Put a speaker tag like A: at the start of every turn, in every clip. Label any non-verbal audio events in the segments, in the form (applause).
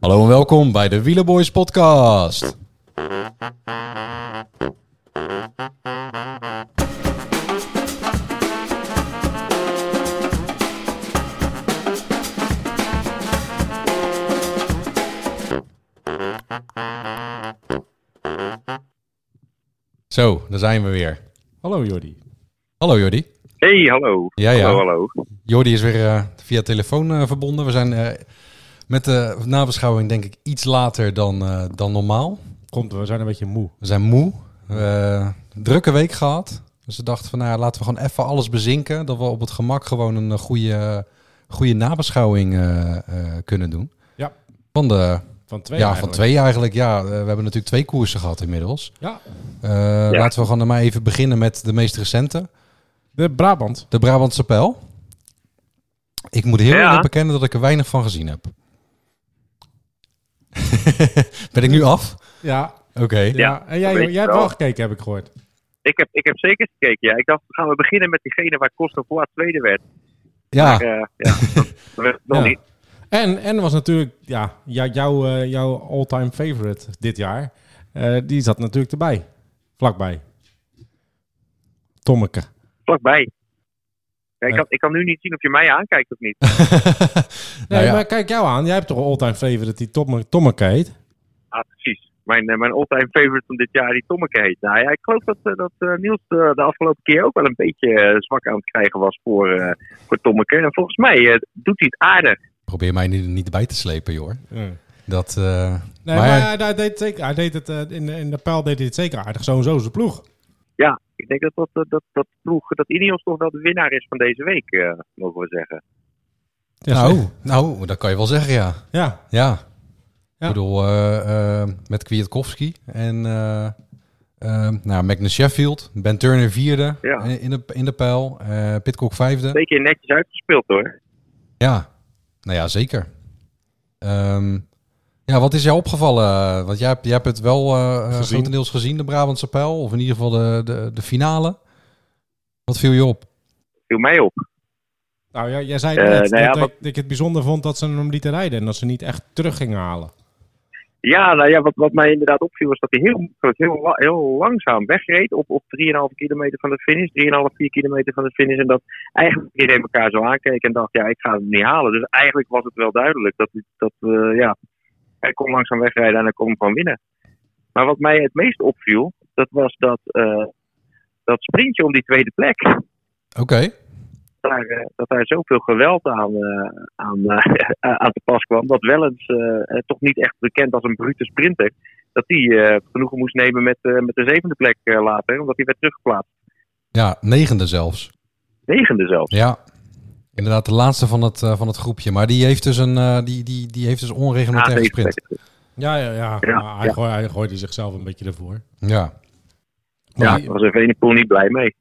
A: Hallo en welkom bij de Wielerboys podcast. Zo, daar zijn we weer.
B: Hallo Jordi.
A: Hallo Jordi.
C: Hey, hallo.
A: Ja,
B: Ah,
A: ja.
C: Hallo, hallo.
A: Jordi is weer eh, via telefoon eh, verbonden. We zijn eh, met de nabeschouwing denk ik iets later dan, eh, dan normaal.
B: Komt, we zijn een beetje moe.
A: We zijn moe. Eh, drukke week gehad. Dus we dachten van nou, ja, laten we gewoon even alles bezinken. Dat we op het gemak gewoon een eh, goede, goede nabeschouwing eh, eh, kunnen doen.
B: Ja.
A: Van, de,
B: Van twee
A: ja, van
B: eigenlijk.
A: twee eigenlijk. Ja, Eh, we hebben natuurlijk twee koersen gehad inmiddels.
B: Ja.
A: Eh, Laten we gewoon maar even beginnen met de meest recente.
B: De Brabant.
A: De Brabantse Pijl. Ik moet heel
C: Ja.
A: eerlijk bekennen dat ik er weinig van gezien heb. (laughs) ben ik nu af?
B: Ja.
A: Oké.
B: ja. En jij,
C: weet ik
B: jij hebt
C: wel.
B: wel gekeken, heb ik gehoord.
C: Ik heb, ik heb zeker gekeken, ja. Ik dacht, gaan we beginnen met diegene waar Kostovoa tweede werd.
A: Ja.
C: Maar, eh,
B: (laughs)
C: ja, dat werd het nog
B: Ah. Ja.
C: niet.
B: En, en was natuurlijk ja, jou- jouw, eh, jouw all-time favorite dit jaar. Eh, die zat natuurlijk erbij. Vlakbij. Tommeke.
C: Vlakbij. Ja, ik,
B: Ja. Ah.
C: kan, ik kan nu niet zien of je mij aankijkt of niet.
B: Nee,
A: (laughs) Nou ja.
B: maar kijk jou aan. Jij hebt toch een all-time favorite die Tomme- Tommeke heet?
C: Ah, precies. Mijn, eh, mijn all-time favorite van dit jaar, die Tommeke heet. Nou ja, ik geloof dat, eh, dat eh, Niels eh, de afgelopen keer ook wel een beetje eh, zwak aan het krijgen was voor, eh, voor Tommeke. En volgens mij eh, doet hij het aardig.
A: Probeer mij nu niet bij te slepen, joh.
B: Nee,
A: Dat, eh,
B: maar,
A: maar-
B: hij, hij deed het zeker, hij deed het, eh, in, de- in de pijl deed hij het zeker aardig. Zo en zo zijn ploeg.
C: Ja, ik denk dat dat, dat, dat, dat, ploeg- dat Ineos toch wel de winnaar is van deze week, eh, mogen we zeggen.
B: Ja,
A: nou,
B: zeg.
A: nou, dat kan je wel zeggen, ja.
B: Ja.
A: Ja.
B: Ja.
A: Ik bedoel, eh, eh, met Kwiatkowski en eh eh, nou, Magnus Sheffield. Ben Turner vierde
C: Ja.
A: in, de, in de pijl. eh Pitcock vijfde.
C: Een beetje netjes uitgespeeld hoor.
A: Ja, nou ja, zeker. Ehm, ja, wat is jou opgevallen? Want jij hebt, jij hebt het wel eh, eh
B: Gezien.
A: grotendeels gezien, de Brabantse pijl. Of in ieder geval de, de, de finale. Wat viel je op?
C: Viel mij op.
B: Nou ja, jij zei
C: Eh,
B: net
C: nou ja,
B: dat,
C: wat-
B: ik, dat ik het bijzonder vond dat ze hem lieten rijden en dat ze niet echt terug gingen halen.
C: Ja, nou ja, wat, wat mij inderdaad opviel was dat hij heel, heel, la- heel langzaam wegreed op, op 3,5 kilometer van de finish, 3,5, 4 kilometer van de finish. En dat eigenlijk iedereen elkaar zo aankeek en dacht, ja, ik ga hem niet halen. Dus eigenlijk was het wel duidelijk dat, dat eh, ja, hij kon langzaam wegrijden en hij kon hem gewoon winnen. Maar wat mij het meest opviel, dat was dat, eh, dat sprintje om die tweede plek.
A: Oké.
C: daar, eh, dat daar zoveel geweld aan, eh, aan, eh, (laughs) aan te pas kwam. Dat Wellens, eh, eh, toch niet echt bekend als een brute sprinter, dat die eh, genoegen moest nemen met, eh, met de zevende plek eh, later, omdat hij werd teruggeplaatst.
A: Ja, negende zelfs.
C: Negende zelfs.
A: Ja, inderdaad, de laatste van het, eh, van het groepje. Maar die heeft dus, een, eh, die, die, die heeft dus een onreglementaire
C: zevende
A: sprint.
C: plek.
B: Ja, ja, ja.
C: Ja,
B: maar hij,
C: ja.
B: Gooi, hij gooide zichzelf een beetje ervoor.
A: Ja.
C: Ja,
B: Maar
C: daar
B: die-
C: was Evenepoel niet blij mee.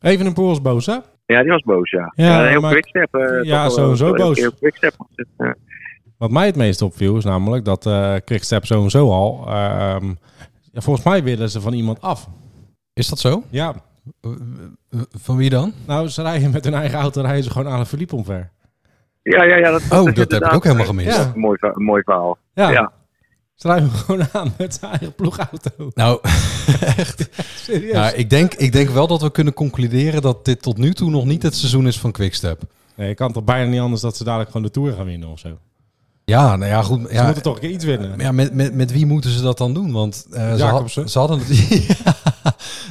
B: Even een pols boos, hè?
C: Ja, die was boos, ja.
B: Ja,
C: heel
B: maar-
C: quickstep. eh,
B: Ja,
C: toch wel-
B: sowieso
C: heel-
B: boos.
C: Heel quickstep. was het, ja.
B: Wat mij het meest opviel is namelijk dat eh Quickstep zo en zo al... ehm, ja, volgens mij willen ze van iemand af.
A: Is dat zo?
B: Ja,
A: Eh, eh, Van wie dan?
B: nou ze rijden met hun eigen auto, rijden ze gewoon aan een verliep omver.
C: Ja, ja, ja. Dat,
A: Oh,
C: is
A: dat heb ik
C: inderdaad
A: ook helemaal gemist.
B: Ja.
C: Een mooi, verha- een mooi verhaal.
B: Ja,
C: Ja.
B: ze rijden (laughs) hem gewoon aan met zijn eigen ploegauto.
A: Nou, echt.
B: Serieus.
A: (laughs) Nou, ik, denk, ik denk wel dat we kunnen concluderen dat dit tot nu toe nog niet het seizoen is van Quickstep.
B: Nee, je kan toch bijna niet anders dat ze dadelijk gewoon de Tour gaan winnen of zo. Ze
A: Ja, nou ja, goed. ja,
B: moeten toch een keer iets winnen.
A: Maar Ja, met, met, met wie moeten ze dat dan doen? Want eh, ze, had-
B: Jacobsen.
A: ze hadden, (laughs)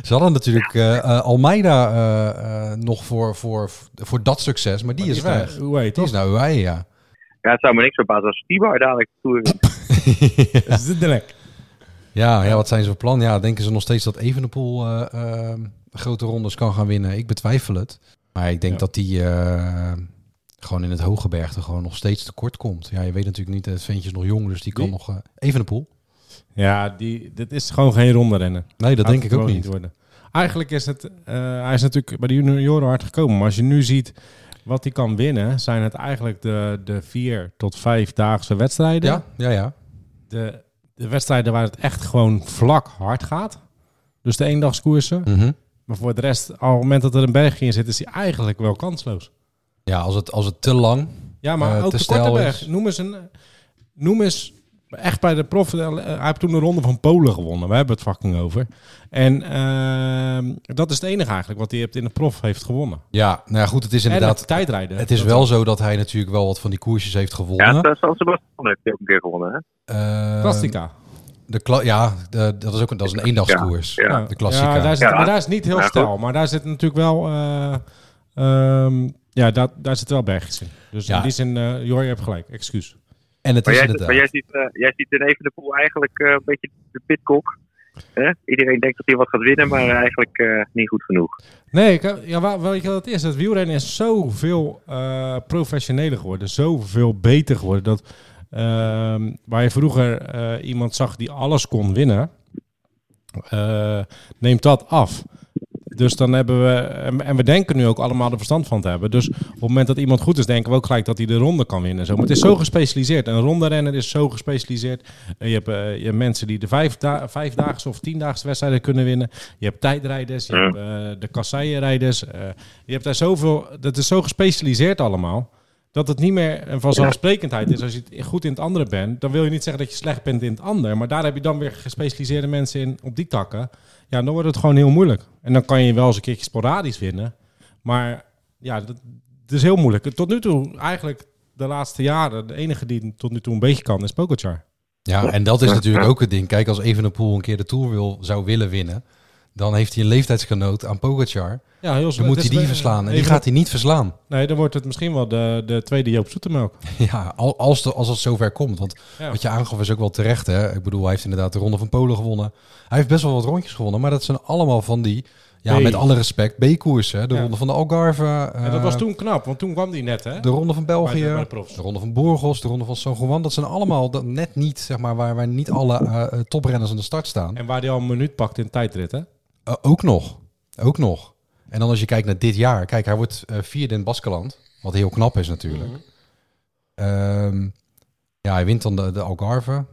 A: ze hadden natuurlijk eh, eh, Almeida eh, eh, nog voor, voor, voor dat succes, maar die
B: Maar
A: is
B: die
A: weg.
B: Hoe heet
A: Die is
B: dat?
A: nou wij, ja.
C: Ja, het zou me niks verbazen als Stibar dadelijk de Tour wint.
B: Dat (laughs) is de lek.
A: ja. Ja, wat zijn ze van plan? Ja, denken ze nog steeds dat Evenepoel eh, eh, grote rondes kan gaan winnen? Ik betwijfel het. Maar ik denk
B: Ja.
A: dat die eh, gewoon in het hoge bergte gewoon nog steeds tekort komt. Ja, je weet natuurlijk niet, het ventje is nog jong, dus die kan
B: Wie?
A: nog... eh Evenepoel?
B: Ja, die, dit is gewoon geen ronde rennen.
A: Nee, dat
B: Gaat
A: denk
B: het
A: ik ook
B: gewoon
A: niet.
B: worden. Eigenlijk is het, eh, hij is natuurlijk bij de junioren hard gekomen. Maar als je nu ziet wat hij kan winnen, zijn het eigenlijk de, de vier tot vijf daagse wedstrijden.
A: Ja, ja, ja.
B: De, de wedstrijden waar het echt gewoon vlak hard gaat. Dus de eendagskoersen.
A: Mhm.
B: Maar voor de rest, op het moment dat er een bergje in zit, is hij eigenlijk wel kansloos.
A: Ja, als het, als het te lang
B: Ja, maar
A: Eh,
B: ook
A: te
B: de
A: stijl is.
B: korte berg. Noem eens een... Noem eens, echt bij de prof, eh, hij heeft toen de ronde van Polen gewonnen. We hebben het fucking over. En ehm, dat is het enige eigenlijk wat hij hebt in de prof heeft gewonnen.
A: Ja, nou ja, goed, het is
B: Inderdaad,
A: inderdaad...
B: en het tijdrijden.
A: Het is
B: Dat-
A: wel zo dat hij natuurlijk wel wat van die koersjes heeft
C: Ja,
A: gewonnen.
C: dat San Sebastian heeft hij ook een keer gewonnen. Hè?
A: Eh,
B: Plastica.
A: de kla- ja, de- dat is ook een, dat is een eendagskoers.
C: Ja.
B: Nou,
A: De klassieker.
B: Ja, daar zit,
C: Ja.
B: maar daar is niet heel
C: Ja, goed.
B: stijl. Maar daar zit natuurlijk wel... eh, ehm, ja, daar, daar zit wel bergjes in. Dus
A: Ja.
B: in die zin, eh Jor, je hebt gelijk. Excuus.
A: En het
C: Maar,
A: is
C: jij,
A: inderdaad...
C: maar jij, ziet, eh, jij ziet in Evenepoel eigenlijk eh, een beetje de pitkok. Hè? Iedereen denkt dat hij wat gaat winnen, maar eigenlijk eh, niet goed genoeg.
B: Nee, ik, ja, wa- weet je wat het is? Het wielrennen is zoveel eh professioneler geworden. Zoveel beter geworden. Dat, ehm, waar je vroeger eh, iemand zag die alles kon winnen, eh, neemt dat af. Dus dan hebben we, en en we denken nu ook allemaal er verstand van te hebben. Dus op het moment dat iemand goed is, denken we ook gelijk dat hij de ronde kan winnen. en Zo. Maar het is zo gespecialiseerd. Een ronderenner is zo gespecialiseerd. Eh, Je hebt, eh, je hebt mensen die de vijf da- vijfdaagse of tiendaagse wedstrijden kunnen winnen. Je hebt tijdrijders, je
C: Ja.
B: hebt eh, de kasseienrijders. eh, je hebt daar zoveel, dat is zo gespecialiseerd allemaal. Dat het niet meer een vanzelfsprekendheid is. Als je het goed in het andere bent, dan wil je niet zeggen dat je slecht bent in het ander. Maar daar heb je dan weer gespecialiseerde mensen in op die takken. Ja, dan wordt het gewoon heel moeilijk. En dan kan je wel eens een keertje sporadisch winnen. Maar ja, dat, dat is heel moeilijk. Tot nu toe, eigenlijk de laatste jaren, de enige die het tot nu toe een beetje kan, is Pogacar.
A: Ja, en dat is natuurlijk ook het ding. Kijk, als Evenepoel een keer de Tour wil, zou willen winnen... dan heeft hij een leeftijdsgenoot aan Pogacar.
B: Ja, heel
A: Dan moet hij die verslaan. En die gaat hij niet verslaan. (laughs)
B: Nee, dan wordt het misschien wel de, de tweede Joop Zoetemelk.
A: Ja, al- als, de, als het zover komt. Want
B: Ja.
A: wat je aangaf is ook wel terecht. Hè? Ik bedoel, hij heeft inderdaad de Ronde van Polen gewonnen. Hij heeft best wel wat rondjes gewonnen. Maar dat zijn allemaal van die, ja,
B: B.
A: met alle respect, B-koersen. hè. De
B: Ja.
A: Ronde van de Algarve.
B: en dat
A: eh,
B: was toen knap, want toen kwam die net, hè?
A: De Ronde van België,
B: Bij de- bij
A: de,
B: de profs.
A: Ronde van Burgos, de Ronde van San Juan. Dat zijn allemaal dat net niet, zeg maar, waar, waar niet alle eh, toprenners aan de start staan.
B: En waar hij al een minuut pakt in de tijdrit, hè?
A: Eh, ook nog. Ook nog. En dan als je kijkt naar dit jaar. Kijk, hij wordt eh, vierde in Baskeland. Wat heel knap is natuurlijk.
B: Mhm.
A: Ehm, ja, hij wint dan de, de Algarve.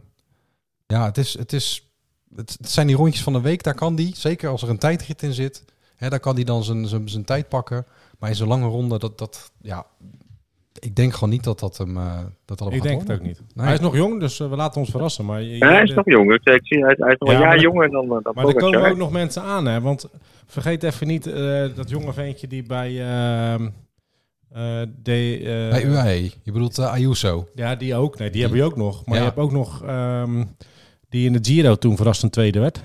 A: Ja, het, is, het, is, het, het zijn die rondjes van een week. Daar kan die, zeker als er een tijdrit in zit. Hè, daar kan die dan zijn, zijn, zijn tijd pakken. Maar in zo'n lange ronde, dat, dat, ja, ik denk gewoon niet dat dat hem... eh, dat dat hem
B: Ik
A: gaat
B: denk het ook
A: worden.
B: niet.
A: Nee.
B: Hij is nog jong, dus eh, we laten ons verrassen. Maar, je-
C: hij is
B: de-
C: toch jonger? Ik zie- Hij is, hij is nog
B: Ja,
C: een jaar
B: maar er-
C: jonger dan, eh, dan
B: maar er komen
C: Pogacar.
B: ook nog mensen aan, hè? Want vergeet even niet eh, dat jonge ventje die bij... ehm, eh, de, eh,
A: Bij UAE. Je bedoelt eh, Ayuso.
B: Ja, die ook. Nee, die hebben je ook nog. Maar
A: Ja.
B: je hebt ook nog ehm, die in de Giro toen verrassend tweede werd.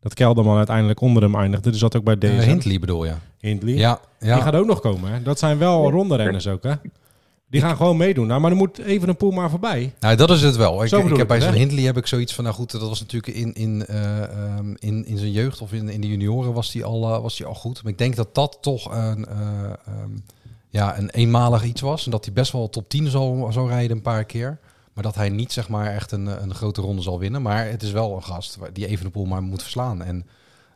B: Dat Kelderman uiteindelijk onder hem eindigde. Dus dat ook bij
A: Eh,
B: deze
A: Hindley bedoel je.
B: Hindley.
A: Ja, ja.
B: Die gaat ook nog komen. Hè? Dat zijn wel ronderenners ook, hè? Die gaan gewoon meedoen. Nou, maar dan moet even een poel maar voorbij.
A: Nou, dat is het wel. Ik,
B: Zo
A: ik
B: bedoel
A: heb
B: ik
A: bij
B: het,
A: zo'n
B: hè?
A: Hindley heb ik zoiets van, nou goed, dat was natuurlijk in, in, eh, ehm, in, in zijn jeugd of in, in de junioren was die, al, eh, was die al goed. Maar ik denk dat dat toch een, eh, ehm, ja, een eenmalig iets was. En dat hij best wel top 10 zal, zal rijden een paar keer. Maar dat hij niet zeg maar echt een, eh, een grote ronde zal winnen. Maar het is wel een gast waar- die Evenepoel maar moet verslaan. En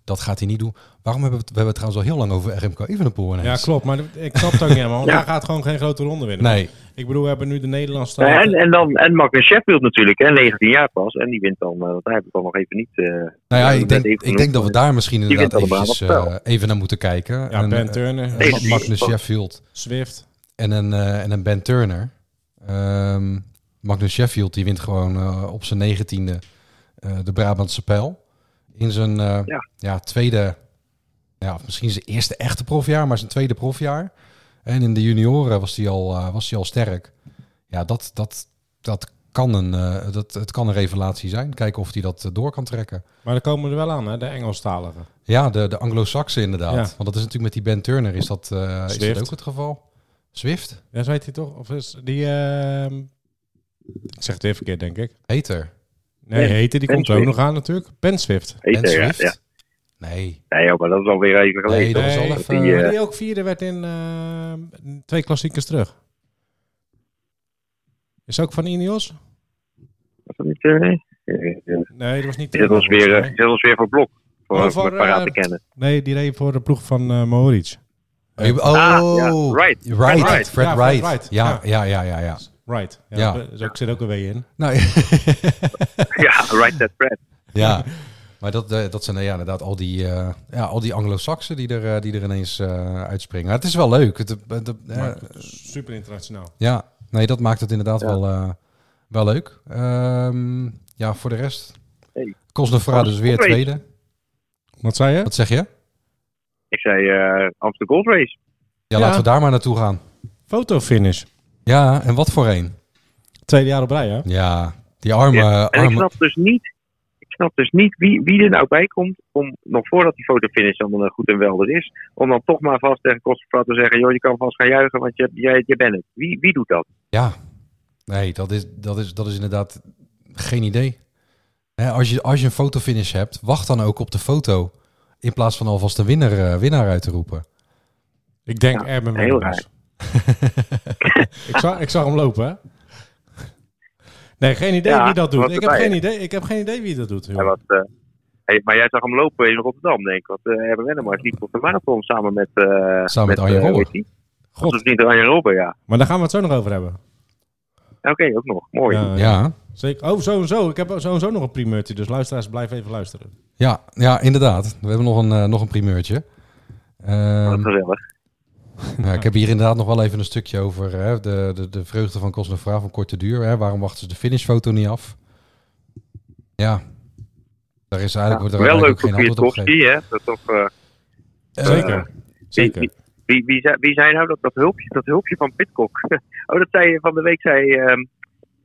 A: dat gaat hij niet doen. Waarom hebben we het, we hebben het trouwens al heel lang over RMK Evenepoel ineens?
B: Ja, klopt. Maar ik snap het ook niet helemaal. Want
C: Ja.
B: hij gaat gewoon geen grote ronde winnen.
A: Nee,
B: Ik bedoel, we hebben nu de Nederlandse...
C: Ja, en, en dan en Magnus Sheffield natuurlijk, hè, 19 jaar pas. En die wint dan, eh, want daar heb ik dan nog even niet. eh,
A: nou ja,
C: Ja,
A: ik
C: dat
A: denk,
C: werd even
A: ik denk dat we
C: genoemd.
A: daar misschien
C: wint
A: inderdaad
C: allemaal
A: eventjes,
C: op spel.
A: eh, even naar moeten kijken.
B: ja,
A: En,
B: Ben
A: eh,
B: Turner,
A: Eh,
C: Nee,
A: Ma-
C: die-
A: Magnus Sheffield
B: Swift.
A: en een, eh, en een Ben Turner. Ehm, Magnus Sheffield die wint gewoon eh, op zijn negentiende eh de Brabantse pijl. In zijn eh, ja.
C: Ja.
A: tweede, ja, of misschien zijn eerste echte profjaar, maar zijn tweede profjaar. En in de junioren was hij al, eh, was hij al sterk. Ja, dat, dat, dat, kan een, eh, dat het kan een revelatie zijn. Kijken of hij dat eh, door kan trekken.
B: Maar er komen er wel aan, hè? De Engelstaligen.
A: Ja, de, de Anglo-Saxen inderdaad.
B: Ja.
A: Want dat is natuurlijk met die Ben Turner is dat, eh, is dat
B: Swift.
A: ook het geval. Swift?
B: Ja, zo heet hij toch? Of is die... ehm, Ik zeg het even verkeerd, denk ik.
A: Heter.
B: Nee,
C: Ben-
B: heette die
C: Ben
B: komt er ook
C: Swift.
B: nog aan natuurlijk. Ben Swift.
C: heet,
A: Ben
C: eh, ja,
A: Swift?
C: ja.
A: Nee.
C: Nee, joh, maar dat is alweer even geleden.
A: Nee, dat is
B: Nee.
A: al
C: Die,
A: even...
C: eh,
B: Maar die ook vierde werd in eh, twee klassiekers terug. Is ook van Ineos?
C: Was dat niet, eh, nee? Eh, eh,
B: Nee, dat was niet.
C: Dit was weer, eh, dit was weer voor Blok. Voor,
B: Oh,
C: voor,
B: voor,
C: paraat
B: eh,
C: te kennen. (laughs)
B: Nee, die reed voor de ploeg van eh Mohoric.
A: oh, je-
C: Ah,
A: oh,
C: ja,
A: Wright.
C: Wright. Fred
A: Fred
C: Wright.
B: Ja, Fred
A: Wright.
B: Wright.
A: Ja, ja, ja, ja, ja.
B: Right. Ja,
A: Ja.
B: dat- Zo zit ook een W in.
A: Nou, (laughs) ja.
C: Ja, right that Fred.
A: ja. Maar dat, eh, dat zijn eh, ja, inderdaad al die, eh, ja, al die Anglo-Saxen die er, eh, die er ineens eh, uitspringen. Maar het is wel leuk. Het, eh, het, eh,
B: Maar Super internationaal.
A: ja, nee, dat maakt het inderdaad
C: Ja.
A: wel, eh, Wel leuk. Ehm, ja, voor de rest.
C: Hey.
A: Cosnefra dus weer
C: Goeie.
A: tweede.
B: Wat zei je?
A: Wat zeg je?
C: Ik zei eh Amsterdam Gold Race.
A: Ja,
B: Ja.
A: laten we daar maar naartoe gaan.
B: Fotofinish.
A: Ja, en wat voor een?
B: Tweede jaar op rij, hè?
A: Ja, die arme...
C: Ja, En ik
A: arme...
C: snap dus niet, ik snap dus niet wie, wie er nou bij komt om nog voordat die fotofinish dan eh, goed en welder is, om dan toch maar vast tegen Kostenvrouw te zeggen, joh, je kan vast gaan juichen, want je, jij, je bent het. Wie, wie doet dat?
A: Ja, nee, dat is, dat is, dat is inderdaad geen idee. Hè, als, je, als je een fotofinish hebt, wacht dan ook op de foto. In plaats van alvast de winnaar, eh, winnaar uit te roepen.
B: Ik denk
C: Ja,
B: Erben
C: heel
B: Wennemars. (laughs) ik, zag, ik zag hem lopen, hè? Nee, geen idee
C: Ja,
B: wie dat doet.
C: wat
B: Ik heb,
C: erbij,
B: geen
C: hè?
B: idee, ik heb geen idee wie dat doet. joh.
C: Hij was, eh, hey, maar jij zag hem lopen in Rotterdam, denk ik. Want eh Erben Wennemars liep op de marathon samen met... eh,
A: Samen met Arjen
C: eh,
A: Robben.
C: weet je?
B: God.
C: Dat is niet Arjen Robben, ja.
B: Maar daar gaan we het zo nog over hebben.
C: Oké, ook nog. Mooi.
B: Ja,
A: Ja,
B: Zeker. Oh, zo en zo. Ik heb zo en zo nog een primeurtje. Dus luisteraars, blijf even luisteren.
A: ja, ja inderdaad. We hebben nog een, eh, nog een primeurtje. Ehm,
C: Wat gezellig.
A: nou, ik heb hier inderdaad nog wel even een stukje over hè, de, de, de vreugde van Cosnefra van korte duur. Hè. Waarom wachten ze de finishfoto niet af? Ja, daar is eigenlijk, wordt er
C: Wel
A: eigenlijk
C: leuk
A: ook geen
C: voor
A: antwoord op gegeven.
C: Kwiatkowski, hè. Dat toch... eh,
B: Zeker.
C: Eh,
B: Zeker.
C: wie- Wie, wie, zei, wie zei nou dat, dat, hulpje, dat hulpje van Pitcock? (laughs) oh, dat zei van de week, zei, ehm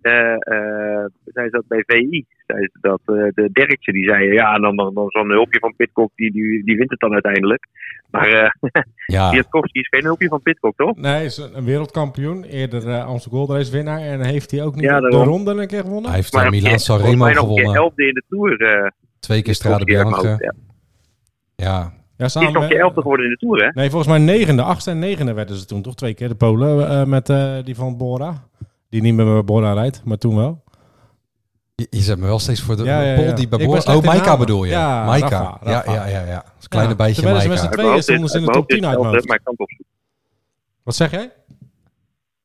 C: eh, eh, zei ze dat bij VI. Zei ze dat, eh, de Derksen, die zei, ja, dan, dan, dan zo'n hulpje van Pitcock, die, die, die wint het dan uiteindelijk. Maar eh
B: Ah.
A: Ja,
C: Kwiatkowski is geen hulpje van Pitcock, toch?
B: Nee, hij is een een wereldkampioen. Eerder eh Amsterdam Gold Race winnaar. En heeft hij ook niet
C: Ja,
B: de
C: daarom.
B: ronde een keer gewonnen?
A: hij heeft
C: Maar
A: eh,
C: nog een
A: Milaan
C: keer- volgens
A: Sanremo
C: mij nog een keer
A: gewonnen.
C: elfde in de Tour. eh
A: Twee keer Strade
C: Kwiatkowski uit
B: eh,
C: mijn
A: Bianca.
C: hoofd, ja.
A: Ja,
B: Ja,
C: Die is nog een keer elfde geworden in de Tour, hè?
B: Nee, volgens mij negende. Achtste en negende werden ze toen toch twee keer. De Polen eh, met eh, die van Bora. Die niet meer bij Bora rijdt, maar toen wel.
A: Je, je zet me wel steeds voor de
B: Ja, ja,
A: pol
B: ja.
A: die bij
B: Ik ben
A: Bora-
B: slecht
A: Oh,
B: in
A: Maika
B: namen.
A: bedoel je?
B: Ja,
A: Maika.
B: Rafa, Rafa.
A: Ja, ja, ja, ja. Dat is een kleine
B: Ja,
A: bijtje
B: terwijl ze met
A: Maika.
B: z'n
C: Uit mijn hoofd
B: stonden
C: is-
B: ze in de
C: uit mijn
B: top
C: hoofd is
B: 10 uit
C: elfde,
B: mijn hoofd.
C: Maar ik kan het opzoeken.
B: Wat zeg jij?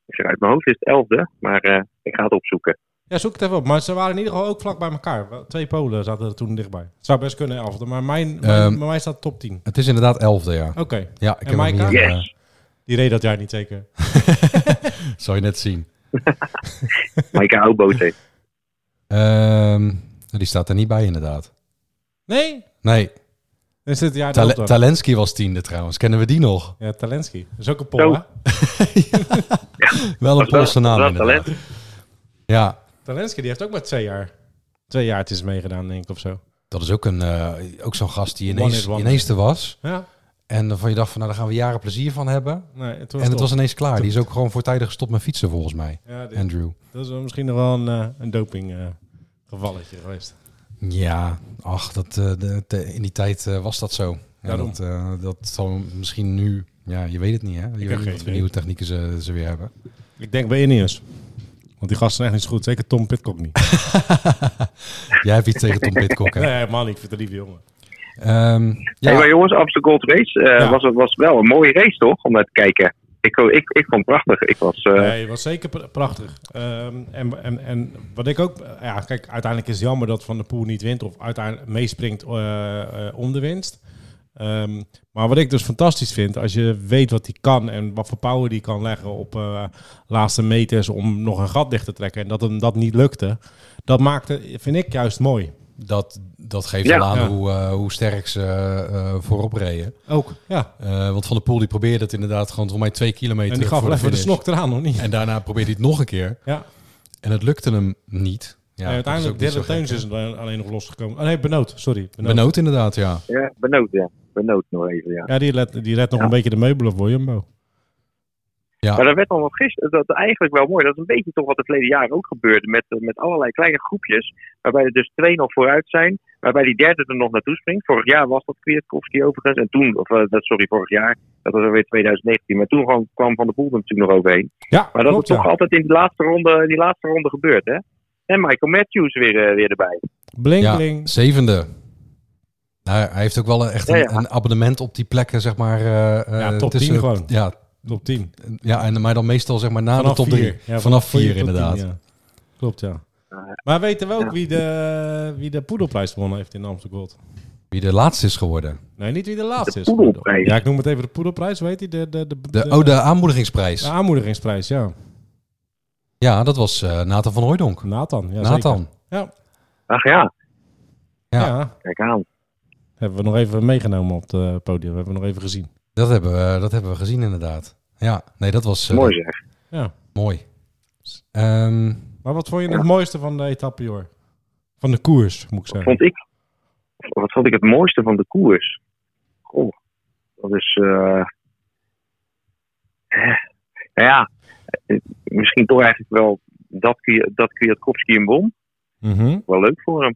C: Ik zeg, uit mijn hoofd is het elfde, maar eh, ik ga het opzoeken.
B: Ja, zoek het even op. Maar ze waren in ieder geval ook vlak bij elkaar. Wel, Twee Polen zaten er toen dichtbij. Het zou best kunnen, elfde. Maar mijn, mijn,
A: Ehm.
B: bij mij staat top 10.
A: Het is inderdaad elfde, ja.
B: Oké,
A: Ja, ik
B: En
A: heb hem
B: Maika?
A: hier...
C: Yes!
A: eh,
B: die reed dat jaar niet zeker.
A: zal je net zien.
C: Maar ik
B: (laughs)
C: hou boter.
A: Ehm, die staat er niet bij, inderdaad.
B: Nee?
A: Nee,
B: Dan is dit jaar
A: Tale-
B: daarop dan.
A: Talensky was tiende trouwens. Kennen we die nog?
B: Ja, Talensky. Dat is ook een
C: Zo.
B: Pol, hè?
A: Wel een
C: Dat is
A: Poolse
C: wel-
A: naam,
C: dat is wel
A: inderdaad. Ja,
B: Talensky, die heeft ook maar twee jaar. Twee jaar het is meegedaan, denk ik, of zo.
A: dat is ook, een, eh, ook zo'n gast die
B: One
A: ineens,
B: is one.
A: ineens er was.
B: Ja.
A: En waarvan je dacht van, nou, daar gaan we jaren plezier van hebben.
B: Nee, het was
A: En het
B: top.
A: was ineens klaar. Die is ook gewoon voortijdig gestopt met fietsen, volgens mij.
B: Ja, dit-
A: Andrew.
B: Dat is wel misschien nog wel een, eh, een doping eh, gevalletje geweest.
A: Ja, ach, dat, eh, de, de- in die tijd eh, was dat zo. Ja,
B: Daarom.
A: dat, eh, dat zal misschien nu... Ja, je weet het niet, hè? Je weet
B: heb
A: niet
B: geen
A: wat voor
B: idee.
A: nieuwe technieken ze, ze weer hebben.
B: Ik denk bij Ineos. Want die gasten zijn echt niet zo goed. Zeker Tom Pitcock niet.
A: Jij hebt iets tegen Tom Pitcock, hè?
B: (laughs) nee, helemaal niet. Ik vind het een lieve jongen.
A: Ehm, ja,
C: Hey, maar jongens, Amsterdam Gold Race eh,
B: Ja.
C: was, was wel een mooie race, toch? Om naar te kijken. Ik, ik, ik vond het prachtig. Ik was, eh,
B: Nee, was zeker pra- prachtig. Ehm, en, en, en wat ik ook... eh, Ja, kijk, uiteindelijk is het jammer dat Van der Poel niet wint. Of uiteindelijk meespringt eh, eh, om de winst. Ehm, maar wat ik dus fantastisch vind, als je weet wat hij kan en wat voor power die kan leggen op eh, laatste meters om nog een gat dicht te trekken en dat hem dat niet lukte, dat maakte, vind ik juist mooi.
A: dat, dat geeft
C: Ja.
A: al aan
B: Ja.
A: Hoe, eh, hoe sterk ze eh, eh, voorop reden.
B: Ook, ja.
A: Eh, want Van der Poel die probeerde het inderdaad gewoon voor mij twee kilometer
B: En die gaf
A: voor
B: wel even de
A: finish.
B: snok eraan, nog niet?
A: En daarna probeerde hij het nog een keer.
B: Ja.
A: En het lukte hem niet. Ja,
B: En uiteindelijk
A: dat is ook
B: Dylan
A: niet zo
B: Teuns
A: gek,
B: is er alleen nog losgekomen. Oh nee, Benoot, sorry.
A: hè? Benoot inderdaad, ja.
C: ja, benoot, ja. Benoot nog even, ja.
B: Ja, die redt, die redt nog
C: Ja.
B: een beetje de meubelen voor Jumbo.
A: Ja,
C: Maar dat werd dan nog gisteren, dat eigenlijk wel mooi. Dat is een beetje toch wat het verleden jaar ook gebeurde. Met, eh, met allerlei kleine groepjes. Waarbij er dus twee nog vooruit zijn. Waarbij die derde er nog naartoe springt. Vorig jaar was dat Kwiatkowski overigens. En toen, of eh, dat- sorry, vorig jaar. Dat was alweer 2019. Maar toen gewoon kwam Van der Poel er natuurlijk nog overheen.
B: Ja,
C: Maar dat
B: klopt,
C: is
B: ja.
C: toch altijd in die laatste ronde, die laatste ronde gebeurd, hè? En Michael Matthews weer, eh, weer erbij.
B: Blink,
A: Ja,
B: blink.
A: zevende. Nou, hij heeft ook wel een- echt een,
C: Ja, ja.
A: een abonnement op die plekken, zeg maar. eh,
B: Ja,
A: eh,
B: top 10
A: tussen-
B: gewoon.
A: Ja,
B: Top 10.
A: ja en, maar dan meestal zeg maar na de top
B: vier.
A: 3.
B: Ja,
A: vanaf
B: vier
A: 4
B: tot
A: inderdaad.
B: tien, ja. Klopt, ja. Eh, Maar weten we ook
C: Ja.
B: wie, de, wie de poedelprijs gewonnen heeft in Amsterdam Gold?
A: Wie de laatste is geworden.
B: Nee, niet wie de laatste
C: De
B: is.
C: poedelprijs.
B: Ja, ik noem het even de poedelprijs, weet je? De, de, de,
A: De, oh, de aanmoedigingsprijs.
B: de aanmoedigingsprijs, ja.
A: Ja, dat was eh, Nathan van Hooijdonk.
B: Nathan. Ja, zeker.
A: Nathan.
B: Ja,
C: Ach ja,
A: Ja.
B: ja.
C: kijk aan.
B: Hebben we nog even meegenomen op het eh, podium. Hebben we nog even gezien.
A: Dat hebben, we, dat hebben we gezien inderdaad. Ja, nee, dat was eh,
C: Mooi zeg.
B: Ja.
A: mooi. Ehm,
B: Maar wat vond je het mooiste van de etappe, Jor? Van de koers, moet ik zeggen.
C: Vond ik, wat vond ik het mooiste van de koers? Goh, dat is... eh, eh, nou ja, eh, misschien toch eigenlijk wel dat, Kwi- dat Kwiatkowski een won.
B: Mhm.
C: Wel leuk voor hem.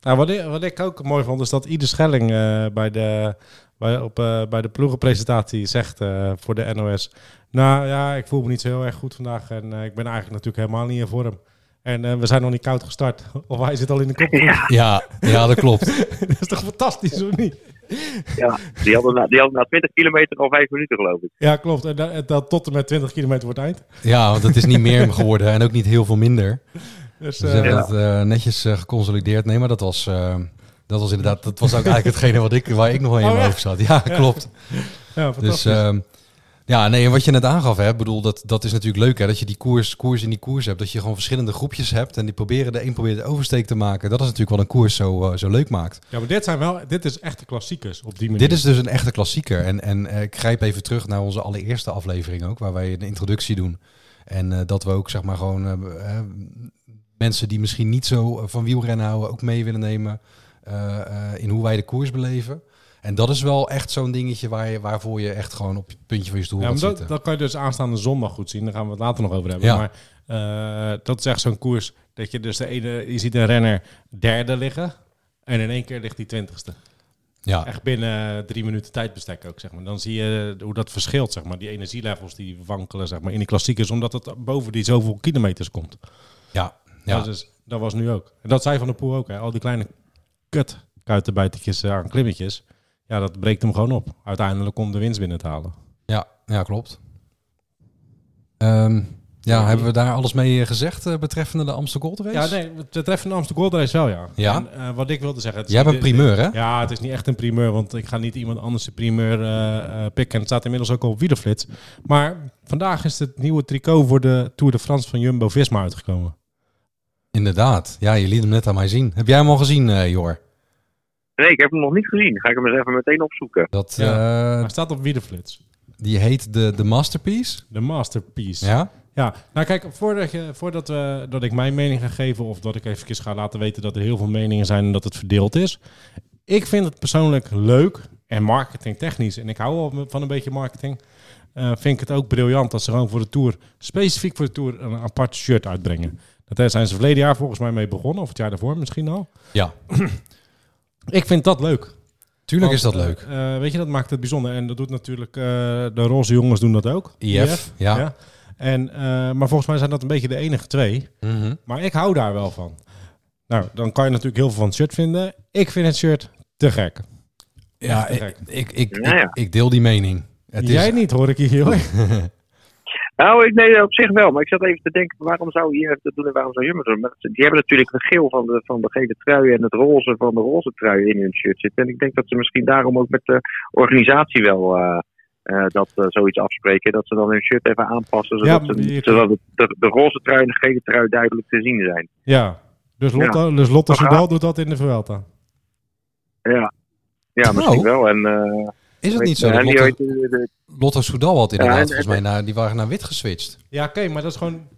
B: Nou, wat, ik, wat ik ook mooi vond, is dat Ieder Schelling eh, bij, de, bij, op, eh, bij de ploegenpresentatie zegt eh, voor de NOS... Nou ja, ik voel me niet zo heel erg goed vandaag en eh, ik ben eigenlijk natuurlijk helemaal niet in vorm. En eh, we zijn nog niet koud gestart. (laughs) Of hij zit al in de kop. (laughs)
A: ja, ja, dat klopt.
B: dat is toch fantastisch, of niet?
C: Ja, die hadden na, die hadden na 20 kilometer al 5 minuten geloof ik.
B: Ja, klopt. En dat, dat tot en met 20 kilometer wordt eind.
A: Ja, want het is niet meer geworden en ook niet heel veel minder.
B: Dus,
A: Ze
B: eh,
A: hebben
C: Ja.
A: het eh, netjes eh, geconsolideerd. Nee, maar dat was, eh, dat was inderdaad, dat was ook eigenlijk hetgene wat ik, waar ik nog wel in
B: Oh,
A: mijn
B: ja.
A: hoofd zat. Ja, klopt.
B: ja,
A: Dus
B: fantastisch.
A: ehm, ja, nee, en wat je net aangaf, hè, bedoel, dat, dat is natuurlijk leuk, hè, dat je die koers, koers in die koers hebt, dat je gewoon verschillende groepjes hebt en die proberen, de een probeert de oversteek te maken. Dat is natuurlijk wat een koers zo, eh, zo leuk maakt.
B: ja, maar dit, zijn wel, dit is echt de klassiekers op die manier.
A: Dit is dus een echte klassieker en, en eh, ik grijp even terug naar onze allereerste aflevering ook, waar wij een introductie doen. En eh, dat we ook, zeg maar, gewoon eh, eh, mensen die misschien niet zo eh, van wielrennen houden, ook mee willen nemen eh, eh, in hoe wij de koers beleven. En dat is wel echt zo'n dingetje waar je, waarvoor je echt gewoon op het puntje van je stoel
B: Ja,
A: gaat
B: maar dat,
A: zitten.
B: dat kan je dus aanstaande zondag goed zien. Daar gaan we het later nog over hebben.
A: Ja.
B: Maar eh, dat is echt zo'n koers dat je dus de ene, je ziet een renner derde liggen. En in één keer ligt die twintigste.
A: ja.
B: Echt binnen eh, drie minuten tijdbestek ook, zeg maar. Dan zie je eh, hoe dat verschilt, zeg maar. Die energielevels die wankelen, zeg maar, in die klassiekers. Omdat het boven die zoveel kilometers komt.
A: Ja,
B: Ja.
A: ja.
B: Dat, is, dat was nu ook. En dat zei Van der Poel ook. Hè. Al die kleine kut kuitenbijtertjes eh, aan klimmetjes. Ja, dat breekt hem gewoon op. Uiteindelijk om de winst binnen te halen.
A: ja, ja, klopt. Ehm, ja, hebben we daar alles mee eh, gezegd eh, betreffende de Amsterdam Gold Race?
B: Ja, nee, wat betreft de Amsterdam Gold Race wel, ja.
A: Ja?
B: En, eh, wat ik wilde zeggen... het is
A: Jij bent
B: niet-
A: primeur, hè?
B: Ja, het is niet echt een primeur, want ik ga niet iemand anders de primeur eh, eh, pikken. Het staat inmiddels ook al op wielerflits. Maar vandaag is het nieuwe tricot voor de Tour de France van Jumbo-Visma uitgekomen.
A: Inderdaad. Ja, je liet hem net aan mij zien. Heb jij hem al gezien, eh, Jor?
C: Nee, ik heb hem nog niet gezien. Ga ik hem eens even meteen opzoeken.
A: Dat, eh,
B: Hij staat op wielerflits.
A: die heet de, de Masterpiece.
B: De masterpiece.
A: Ja?
B: Ja, nou kijk, voordat, je, voordat we, dat ik mijn mening ga geven of dat ik even ga laten weten dat er heel veel meningen zijn en dat het verdeeld is. Ik vind het persoonlijk leuk en marketingtechnisch, en ik hou wel van een beetje marketing, eh, vind ik het ook briljant dat ze gewoon voor de Tour, specifiek voor de Tour, een apart shirt uitbrengen. Daar zijn ze verleden jaar volgens mij mee begonnen, of het jaar daarvoor misschien al.
A: Ja.
B: Ik vind dat leuk.
A: Tuurlijk is
B: Want,
A: dat leuk.
B: eh, eh, weet je, dat maakt het bijzonder. En dat doet natuurlijk, eh, de roze jongens doen dat ook.
A: IF, ja.
B: En, eh, maar volgens mij zijn dat een beetje de enige twee.
A: Mhm.
B: Maar ik hou daar wel van. Nou, dan kan je natuurlijk heel veel van het shirt vinden. Ik vind het shirt te gek.
A: Ja,
B: Echt te
A: ik,
B: gek.
A: ik, ik,
C: Ja, ja.
A: ik, ik deel die mening. Het is,
B: Jij niet, hoor ik hier. heel erg.
C: Nou, ik, nee, op zich wel. Maar ik zat even te denken, waarom zou IF dat doen en waarom zou Jumbo dat doen? Maar ze- Die hebben natuurlijk het geel van de, van de gele trui en het roze van de roze trui in hun shirt zitten. En ik denk dat ze misschien daarom ook met de organisatie wel eh, eh, dat eh, zoiets afspreken. Dat ze dan hun shirt even aanpassen,
B: Ja,
C: zodat, ze-
B: maar je-
C: zodat het- de, de roze trui en de gele trui duidelijk te zien zijn.
B: Ja. Dus Lotte, dus Lotte
C: Dat gaat.
B: Soudal doet dat in de Vuelta.
C: Ja, ja misschien
A: Oh.
C: wel. En, eh
A: is het niet zo?
C: en
A: dat
C: die
A: Lotto,
C: heet, eh, de-
A: Lotto Soudal had inderdaad
C: Ja, en-
A: volgens mij, naar, die waren naar wit geswitcht.
B: Ja, oké, maar dat is gewoon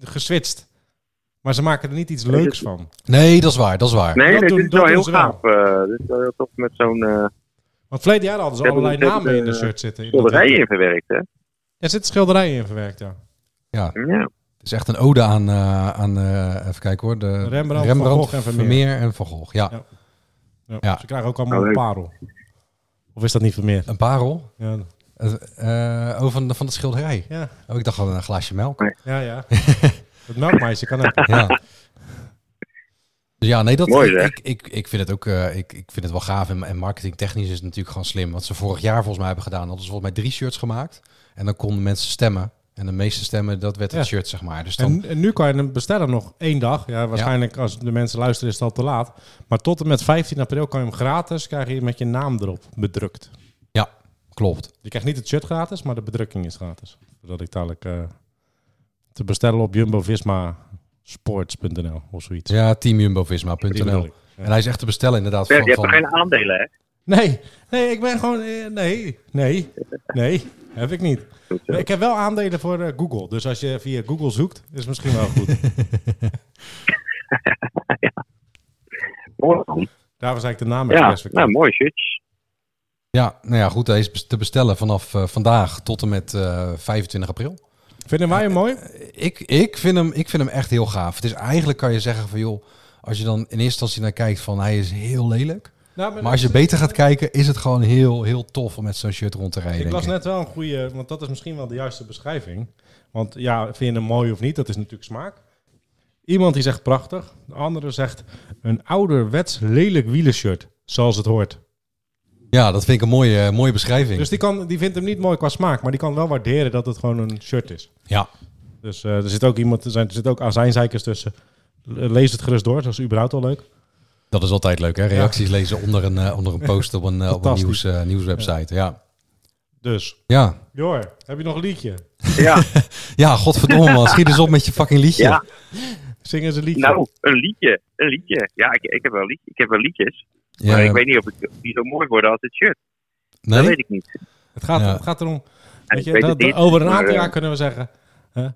B: geswitst. Maar ze maken er niet iets leuks van.
A: Nee, dat is waar, dat is waar.
C: nee,
B: dat
C: nee,
B: doen-
C: dit is
B: dat doen
C: wel heel
B: ze wel.
C: gaaf. eh, dit is wel heel tof met zo'n eh
B: Want verleden jaar hadden ze
C: Ja,
B: allerlei
C: dat is-
B: namen in de
C: eh,
B: shirt zitten. In dat-
C: schilderij in verwerkt, hè?
B: Er zitten schilderijen in verwerkt, ja.
A: Ja,
C: Ja.
A: het is echt een ode aan, eh, aan eh, even kijken hoor, de
B: Rembrandt, Van
A: Rembrandt,
B: Gogh en Vermeer.
A: en Van Gogh. Ja,
B: Ja. ja.
A: Ja.
B: Ze krijgen ook allemaal
C: Oh,
B: een
C: leuk.
B: parel. Of is dat niet Vermeer?
A: een parel.
B: Ja,
A: eh eh, oh, van, de- van de schilderij.
B: ja,
A: Oh, ik dacht al een glaasje melk.
B: ja. ja. (laughs) Het melkmeisje kan ook.
A: Ja. Dus ja, nee, dat,
C: Mooi,
A: ik,
C: zeg.
A: ik, ik, ik vind het ook eh, ik, ik vind het wel gaaf. En, en marketingtechnisch is het natuurlijk gewoon slim. Wat ze vorig jaar volgens mij hebben gedaan, hadden ze volgens mij drie shirts gemaakt. En dan konden mensen stemmen. En de meeste stemmen, dat werd het
B: Ja.
A: shirt, zeg maar. Dus dan,
B: En, en nu kan je hem bestellen nog één dag. Ja, waarschijnlijk als de mensen luisteren is het al te laat. Maar tot en met 15 april kan je hem gratis krijg je met je naam erop bedrukt.
A: ja, klopt.
B: Je krijgt niet het shirt gratis, maar de bedrukking is gratis. Zodat ik dadelijk eh, te bestellen op jumbovismasports.nl of zoiets.
A: Ja, teamjumbovisma.nl. En hij is echt te bestellen inderdaad.
C: Bert,
A: Van,
C: je hebt
A: van,
C: er geen aandelen, hè?
B: Nee, nee, ik ben gewoon... eh, Nee, nee, nee, heb ik niet.
C: Goed zo.
B: Ik heb wel aandelen voor eh, Google. Dus als je via Google zoekt, is het misschien wel goed.
C: Mooi, goed.
B: Daarvoor zei ik de naam
C: Ja,
B: expres verkeerd.
C: nou, mooi, shirts.
A: ja, nou ja, goed. Hij is bes- te bestellen vanaf eh, vandaag tot en met eh, 25 april. Eh,
B: Vinden wij hem mooi?
A: Ik, ik, vind hem, ik vind hem echt heel gaaf. Het is eigenlijk, kan je zeggen van joh, als je dan in eerste instantie naar kijkt van hij is heel lelijk.
B: Nou,
A: Maar als je beter gaat kijken, is het gewoon heel, heel tof om met zo'n shirt rond te rijden.
B: Ik
A: denk
B: was net wel een goede, want dat is misschien wel de juiste beschrijving. Want ja, vind je hem mooi of niet, dat is natuurlijk smaak. Iemand die zegt prachtig, de andere zegt een ouderwets lelijk wielershirt, zoals het hoort.
A: Ja, dat vind ik een mooie, eh, mooie beschrijving.
B: Dus die, kan, die vindt hem niet mooi qua smaak, maar die kan wel waarderen dat het gewoon een shirt is.
A: Ja,
B: Dus eh, er zit ook iemand, er, zijn, er zit ook azijnzeikers tussen. Lees het gerust door, dat is überhaupt al leuk.
A: dat is altijd leuk hè. Reacties lezen onder een, eh, onder een post op een, eh, op een
B: Fantastisch.
A: nieuws, eh, nieuwswebsite. Ja.
B: Dus,
A: Ja.
B: Jor, heb je nog een liedje?
C: Ja,
A: ja, godverdomme man. Schiet eens op met je fucking liedje.
C: ja.
B: Zing eens een liedje.
C: Nou, een liedje. Een liedje. Ja, ik, ik, heb, wel lied, ik heb wel liedjes. Maar
A: Ja,
C: ik weet niet of, ik, of die zo mooi worden als dit shirt.
A: nee?
C: Dat weet ik niet. (laughs)
B: Het gaat,
A: Ja.
B: het gaat erom.
C: En
B: Weet
C: ik
B: je,
C: weet
B: dat-
C: het niet,
B: over een aantal
C: maar, eh,
B: jaar kunnen we zeggen. hè,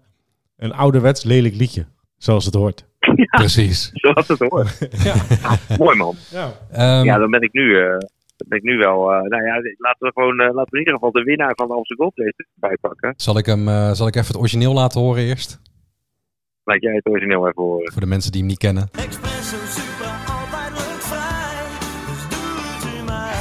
B: een ouderwets lelijk liedje. Zoals het hoort.
A: Precies.
C: Zoals het
A: (laughs)
C: hoort. Ah,
B: Ja.
C: mooi, man.
B: ja.
A: Ehm,
C: Ja, dan ben ik nu, eh, dan ben ik nu wel... eh, nou ja, laten we gewoon eh, laten we in ieder geval de winnaar van de Amsterdam Gold Race erbij pakken.
A: zal, ik hem, eh, zal ik even het origineel laten horen eerst?
C: Laat jij het origineel even horen.
A: Voor de mensen die hem niet kennen.
D: Expresso super, altijd leuk vrij. Dus doe het u maar.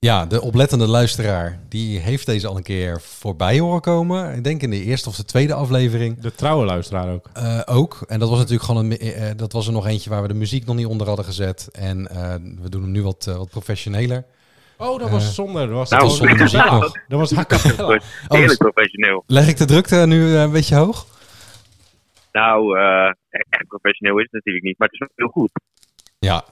A: Ja, de oplettende luisteraar die heeft deze al een keer voorbij horen komen. Ik denk in de eerste of de tweede aflevering
B: De trouwe luisteraar ook.
A: eh, ook. En dat was natuurlijk gewoon een, eh, eh, dat was er nog eentje waar we de muziek nog niet onder hadden gezet. En eh, we doen hem nu wat, eh, wat professioneler.
B: Oh, dat was zonder. Dat was,
C: Nou,
A: Dat was zonder muziek
C: Ja.
A: nog.
B: dat was a cappella.
C: Goed.
A: Oh,
C: Heerlijk professioneel.
A: Leg ik de drukte nu eh, een beetje hoog?
C: Nou, eh, echt professioneel is het natuurlijk niet, maar het is wel heel goed.
A: Ja.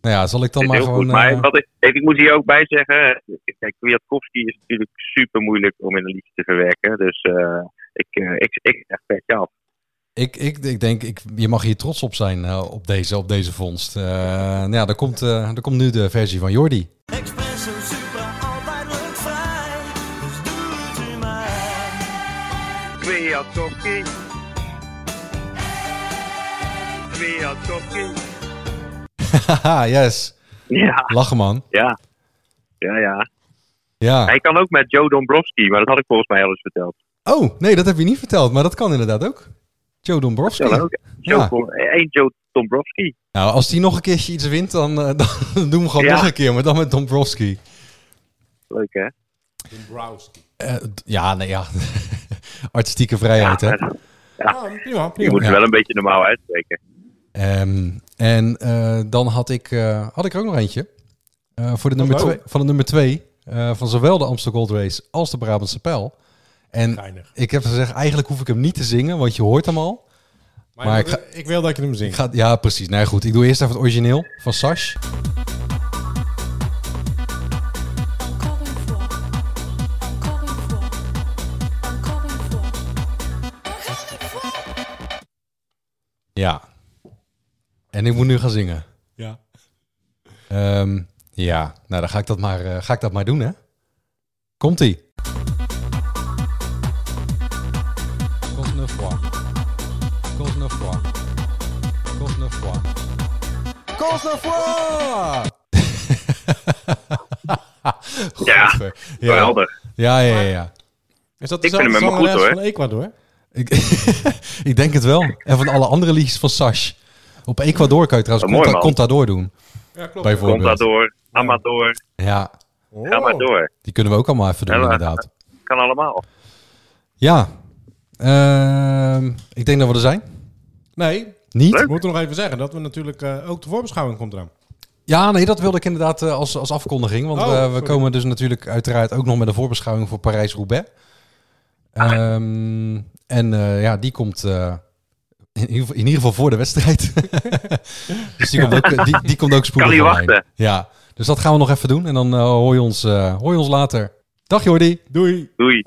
A: Nou ja, zal ik dan
C: Het is
A: maar
C: heel
A: gewoon...
C: goed. Maar
A: eh,
C: wat ik, even, ik moet hier ook bij zeggen, eh, kijk, Kwiatkowski is natuurlijk super moeilijk om in een liedje te verwerken. Dus eh, ik, eh, ik, ik zeg petje af.
A: Ik, ik, ik denk, ik, je mag hier trots op zijn eh, op, deze, op deze vondst. Eh, nou ja, daar komt, eh, daar komt nu de versie van Jordi. (laughs)
D: Expresso super, altijd leuk vrij. Dus doe het u maar.
C: Kwiatkowski. Kwiatkowski.
A: Haha, yes.
C: Ja,
A: Lachen man.
C: ja. Ja, ja.
A: Ja.
C: Hij kan ook met Joe Dombrowski, maar dat had ik volgens mij al eens verteld.
A: Oh, nee, dat heb je niet verteld, maar dat kan inderdaad ook. Joe Dombrowski.
C: Vertel ook. Joe,
A: Ja.
C: Dom- eh, één Joe Dombrowski.
A: Nou, als die nog een keertje iets wint, dan, eh, (laughs) dan doen we gewoon
C: Ja.
A: nog een keer, maar dan met Dombrowski.
C: Leuk, hè?
A: Eh, d- ja, nee, ja. (laughs) Artistieke vrijheid, hè.
B: Ja, prima,
C: Ah, Je
B: prima.
C: moet het wel een beetje normaal uitspreken.
A: Ehm, en eh, dan had ik, eh, had ik er ook nog eentje. Eh, voor de nummer
B: Hallo.
A: twee, van de nummer twee eh, van zowel de Amsterdam Gold Race als de Brabantse Pijl. En
B: Geinig.
A: ik heb gezegd, eigenlijk hoef ik hem niet te zingen, want je hoort hem al.
B: Maar,
A: Maar
B: ik,
A: ik
B: wil- ik wil dat je hem
A: Ik
B: zingt.
A: ga, ja, precies. Nou ja, goed, ik doe eerst even het origineel van Sash.
E: Encore une fois, encore une fois, encore une fois, encore une fois.
A: Ja. En ik moet nu gaan zingen.
B: Ja.
A: Ehm, ja, nou dan ga ik dat maar, eh, ga ik dat maar doen, hè. Komt-ie.
B: (laughs)
C: Ja,
A: Ja,
C: geweldig.
A: ja, ja, ja. ja.
B: Is dat
C: Ik vind hem
B: dezelfde
C: helemaal goed,
B: zangeres
C: hoor.
B: van Ecuador?
A: Ik, (laughs) ik denk het wel. En van alle andere liedjes van Sash. Op Ecuador kan je trouwens
C: Oh, mooi,
A: Conta-
C: man.
A: Contador doen,
B: Ja, klopt.
C: Komt dat
A: bijvoorbeeld.
C: door. Amador.
A: Ja,
C: Ga
A: Oh.
C: maar
B: Oh.
C: door.
A: die kunnen we ook allemaal even doen,
C: Ja, maar-
A: inderdaad.
C: Kan allemaal.
A: Ja, Ehm, ik denk dat we er zijn.
B: Nee,
A: Niet?
B: we moeten nog even zeggen dat we natuurlijk eh, ook de voorbeschouwing komt eraan.
A: Ja, nee, dat wilde ik inderdaad eh, als, als afkondiging. Want
B: Oh,
A: we- we,
B: sorry.
A: komen dus natuurlijk uiteraard ook nog met een voorbeschouwing voor Parijs-Roubaix. Ehm, en eh, ja, die komt eh, in, ieder geval- in (laughs) ieder geval voor de wedstrijd. dus die komt ook, die, die komt ook spoedig
C: Kan niet
A: online.
C: wachten.
A: Ja, dus Dus dat gaan we nog even doen. En dan eh, hoor, je ons, eh, hoor je ons later. Dag Jordi.
B: Doei.
C: Doei.